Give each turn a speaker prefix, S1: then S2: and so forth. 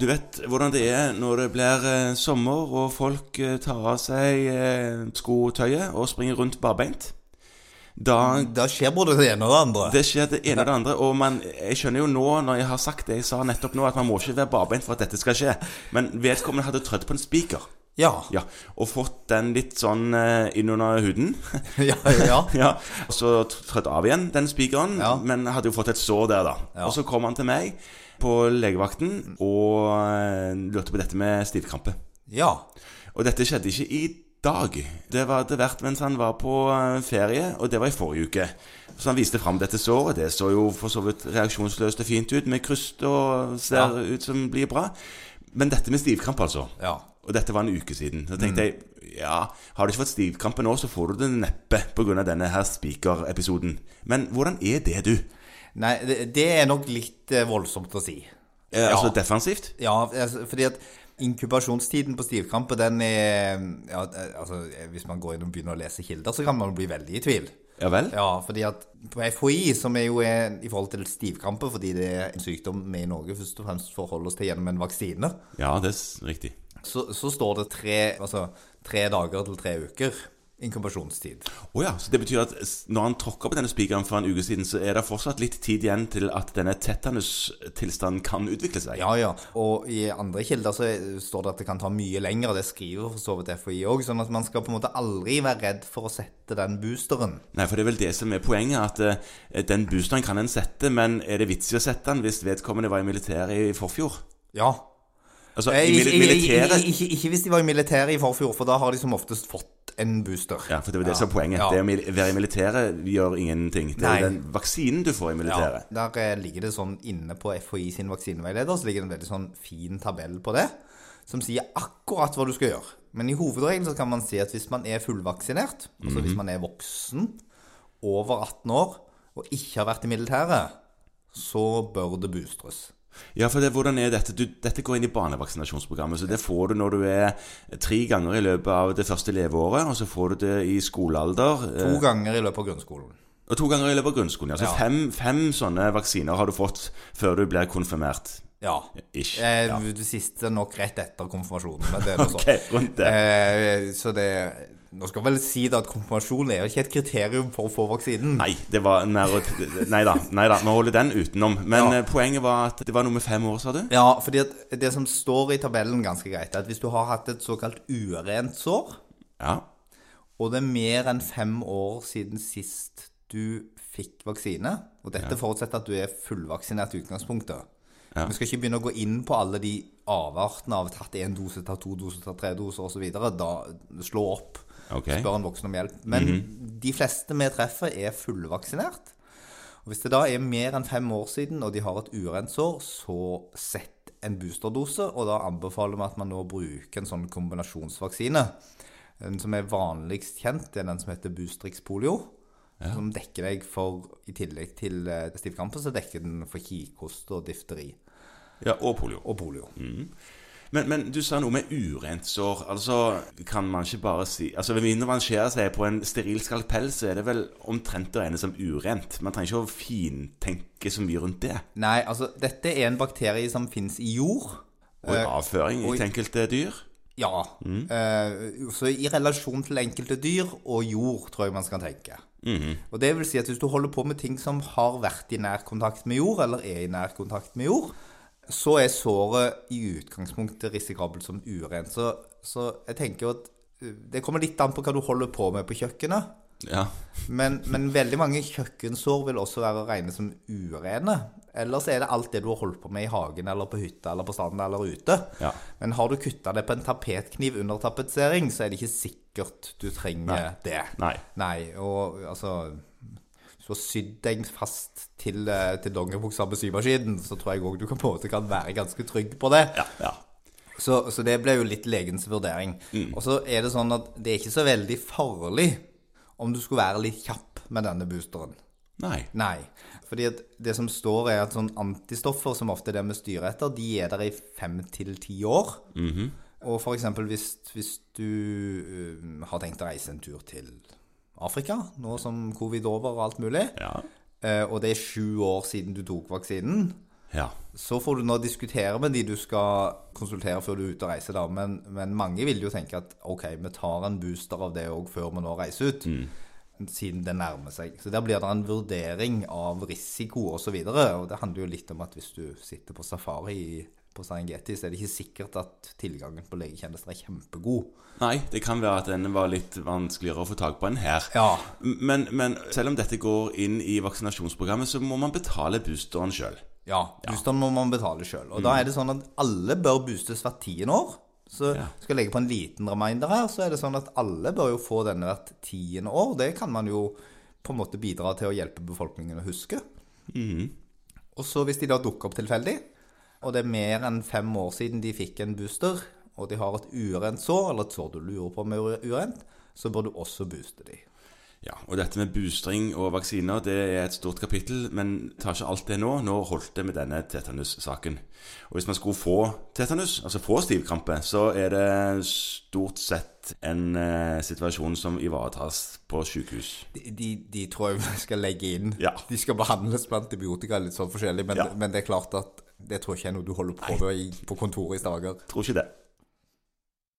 S1: du vet hvordan det er når det blir eh, sommer og folk eh, tar av seg eh, skotøyet og springer rundt barbeint. Da
S2: Da skjer både det ene og det andre.
S1: det skjer det ene og det andre. Og man, jeg skjønner jo nå, når jeg har sagt det jeg sa nettopp nå, at man må ikke være barbeint for at dette skal skje. Men vedkommende hadde trødd på en spiker.
S2: Ja.
S1: Ja, og fått den litt sånn eh, innunder huden.
S2: ja, ja.
S1: ja, og så trødd av igjen den spikeren,
S2: Ja.
S1: men hadde jo fått et sår der, da.
S2: Ja.
S1: Og så kom han til meg på legevakten og eh, lurte på dette med stivkrampe.
S2: ja.
S1: Og dette skjedde ikke i dag. Det var etter hvert mens han var på eh, ferie, og det var i forrige uke. Så han viste fram dette såret. Det så jo for så vidt reaksjonsløst og fint ut, med kryst og ser ut som blir bra. Men dette med stivkrampe, altså.
S2: Ja.
S1: Og dette var en uke siden. Så tenkte jeg ja, har du ikke fått stivkrampe nå, så får du det neppe pga. denne her spikerepisoden. Men hvordan er det, du?
S2: Nei, det, det er nok litt eh, voldsomt å si.
S1: Eh, Altså defensivt?
S2: Ja, altså, fordi at inkubasjonstiden på stivkrampe, den er ja, altså, Hvis man går inn og begynner å lese kilder, så kan man bli veldig i tvil.
S1: Ja vel?
S2: Ja, fordi at på FHI, som er jo en, i forhold til stivkrampe, fordi det er en sykdom vi i Norge først og fremst forholder oss til gjennom en vaksine,
S1: Ja, det er s- riktig.
S2: så, så står det tre, altså, tre dager til tre uker inkubasjonstid.
S1: Å ja, så det betyr at s- når han tråkka på denne spikeren for en uke siden, så er det fortsatt litt tid igjen til at denne tetanustilstanden kan utvikle seg?
S2: Ja, ja. Og i andre kilder så står det at det kan ta mye lenger, og det skriver for så vidt FHI òg, sånn at man skal på en måte aldri være redd for å sette den boosteren.
S1: Nei, for det er vel det som er poenget, at eh, den boosteren kan en sette, men er det vits i å sette den hvis vedkommende var i militæret i forfjor?
S2: Ja.
S1: Altså,
S2: Eh,
S1: i
S2: Ikke,
S1: mil
S2: ikke, ikke,
S1: militæret
S2: ikke, ikke hvis de var i militæret i forfjor, for da har de som oftest fått en booster.
S1: Ja, for det var det som var poenget.
S2: Ja.
S1: Det å mil- være i militæret gjør ingenting. Det er
S2: Nei.
S1: jo den vaksinen du får i militæret.
S2: Ja, der eh, ligger det sånn inne på FHI sin vaksineveileder, så ligger det en veldig sånn fin tabell på det, som sier akkurat hva du skal gjøre. Men i hovedregelen så kan man si at hvis man er fullvaksinert, altså
S1: Mhm.
S2: hvis man er voksen, over 18 år, og ikke har vært i militæret, så bør det boostres.
S1: Ja, for det, hvordan er dette? Du, dette går inn i barnevaksinasjonsprogrammet, så det får du når du er tre ganger i løpet av det første leveåret, og så får du det i skolealder.
S2: To
S1: eh,
S2: ganger i løpet av grunnskolen.
S1: Og to ganger i løpet av grunnskolen. Altså
S2: Ja.
S1: fem, fem sånne vaksiner har du fått før du blir konfirmert.
S2: Ja.
S1: Ish.
S2: Eh,
S1: Ja.
S2: Det siste nok rett etter konfirmasjonen, men det er noe sånn.
S1: Ok, rundt det.
S2: Eh, så det Nå skal jeg vel si da at konfirmasjon er jo ikke et kriterium for å få vaksinen.
S1: Nei, det var mer Nei da, nei da, vi holder den utenom. Men
S2: Ja.
S1: eh, poenget var at det var noe med fem år, sa du?
S2: Ja, fordi at det som står i tabellen ganske greit, er at hvis du har hatt et såkalt urent sår,
S1: Ja.
S2: og det er mer enn fem år siden sist du fikk vaksine, og dette forutsetter at du er fullvaksinert i utgangspunktet.
S1: Ja.
S2: Vi skal ikke begynne å gå inn på alle de avartene av tatt én dose, tatt to doser, tatt tre doser osv. Da slå opp,
S1: Ok.
S2: spør en voksen om hjelp. Men de fleste vi treffer, er fullvaksinert. Og Hvis det da er mer enn fem år siden, og de har et urent sår, så sett en boosterdose. Og da anbefaler vi at man nå bruker en sånn kombinasjonsvaksine. Den som er vanligst kjent, det er den som heter Boostrix polio. Som dekker deg for, i tillegg til eh, stivkrampe, så dekker den for kikhoste og difteri
S1: Ja, og polio.
S2: og polio.
S1: Men, men du sa noe med urent sår. Altså, kan man ikke bare si Altså, Ved mindre man skjærer seg på en steril skalpell, så er det vel omtrent det ene som urent. Man trenger ikke å fintenke så mye rundt det.
S2: Nei, altså, dette er en bakterie som fins i jord.
S1: Eh, Og i avføring i enkelte dyr.
S2: Ja. Eh, så i relasjon til enkelte dyr og jord, tror jeg man skal tenke. Og det vil si at hvis du holder på med ting som har vært i nær kontakt med jord, eller er i nær kontakt med jord, så er såret i utgangspunktet risikabelt som urent. Så, så jeg tenker jo at eh, det kommer litt an på hva du holder på med på kjøkkenet.
S1: Ja.
S2: Men, men veldig mange kjøkkensår vil også være å regne som urene. Ellers er det alt det du har holdt på med i hagen eller på hytta eller på stranda eller ute.
S1: Ja.
S2: Men har du kutta det på en tapetkniv under tapetsering, så er det ikke sikkert du trenger det.
S1: Nei.
S2: Nei, og altså Hvis du har sydd deg fast til, eh, til dongeribuksa med symaskinen, så tror jeg òg du kan, på en måte kan være ganske trygg på det.
S1: Ja. ja.
S2: Så, så det ble jo litt legens vurdering. Og så er det sånn at det er ikke så veldig farlig om du skulle være litt kjapp med denne boosteren.
S1: Nei.
S2: Nei. Fordi at det som står, er at sånn antistoffer, som ofte er det vi styrer etter, de er der i fem til ti år. Og for eksempel hvis, hvis du eh, har tenkt å reise en tur til Afrika, nå som covid er over og alt mulig,
S1: Ja.
S2: eh, og det er sju år siden du tok vaksinen,
S1: Ja.
S2: Så får du nå diskutere med de du skal konsultere før du er ute og reiser, da. Men, men mange vil jo tenke at ok, vi tar en booster av det òg før vi nå reiser ut. Siden det nærmer seg. Så der blir det en vurdering av risiko osv. Og, så videre, og det handler jo litt om at hvis du sitter på safari i- på Serengeti, så er det ikke sikkert at tilgangen på legetjenester er kjempegod.
S1: Nei, det kan være at den var litt vanskeligere å få tak på enn her.
S2: Ja,
S1: Men, men selv om dette går inn i vaksinasjonsprogrammet, så må man betale boosteren sjøl.
S2: Ja, boosteren må man betale sjøl. Og da er det sånn at alle bør boostes hvert tiende år. Så
S1: Ja.
S2: skal jeg legge på en liten reminder her, så er det sånn at alle bør jo få denne hvert tiende år. Det kan man jo på en måte bidra til å hjelpe befolkningen å huske. Og så hvis de da dukker opp tilfeldig, og det er mer enn fem år siden de fikk en booster, og de har et urent sår, eller et sår du lurer på om er urent, så bør du også booste de.
S1: Ja, og dette med boostring og vaksiner det er et stort kapittel, men tar ikke alt det nå. Nå holdt det med denne tetanussaken. Og hvis man skulle få tetanus, altså få stivkrampe, så er det stort sett en eh, situasjon som ivaretas på sykehus.
S2: De, de, de tror jeg vi skal legge inn.
S1: Ja.
S2: De skal behandles med antibiotika litt sånn forskjellig, men,
S1: Ja.
S2: men det er klart at det tror jeg ikke er noe du holder på med i- på kontoret i Stavanger.
S1: Tror ikke det.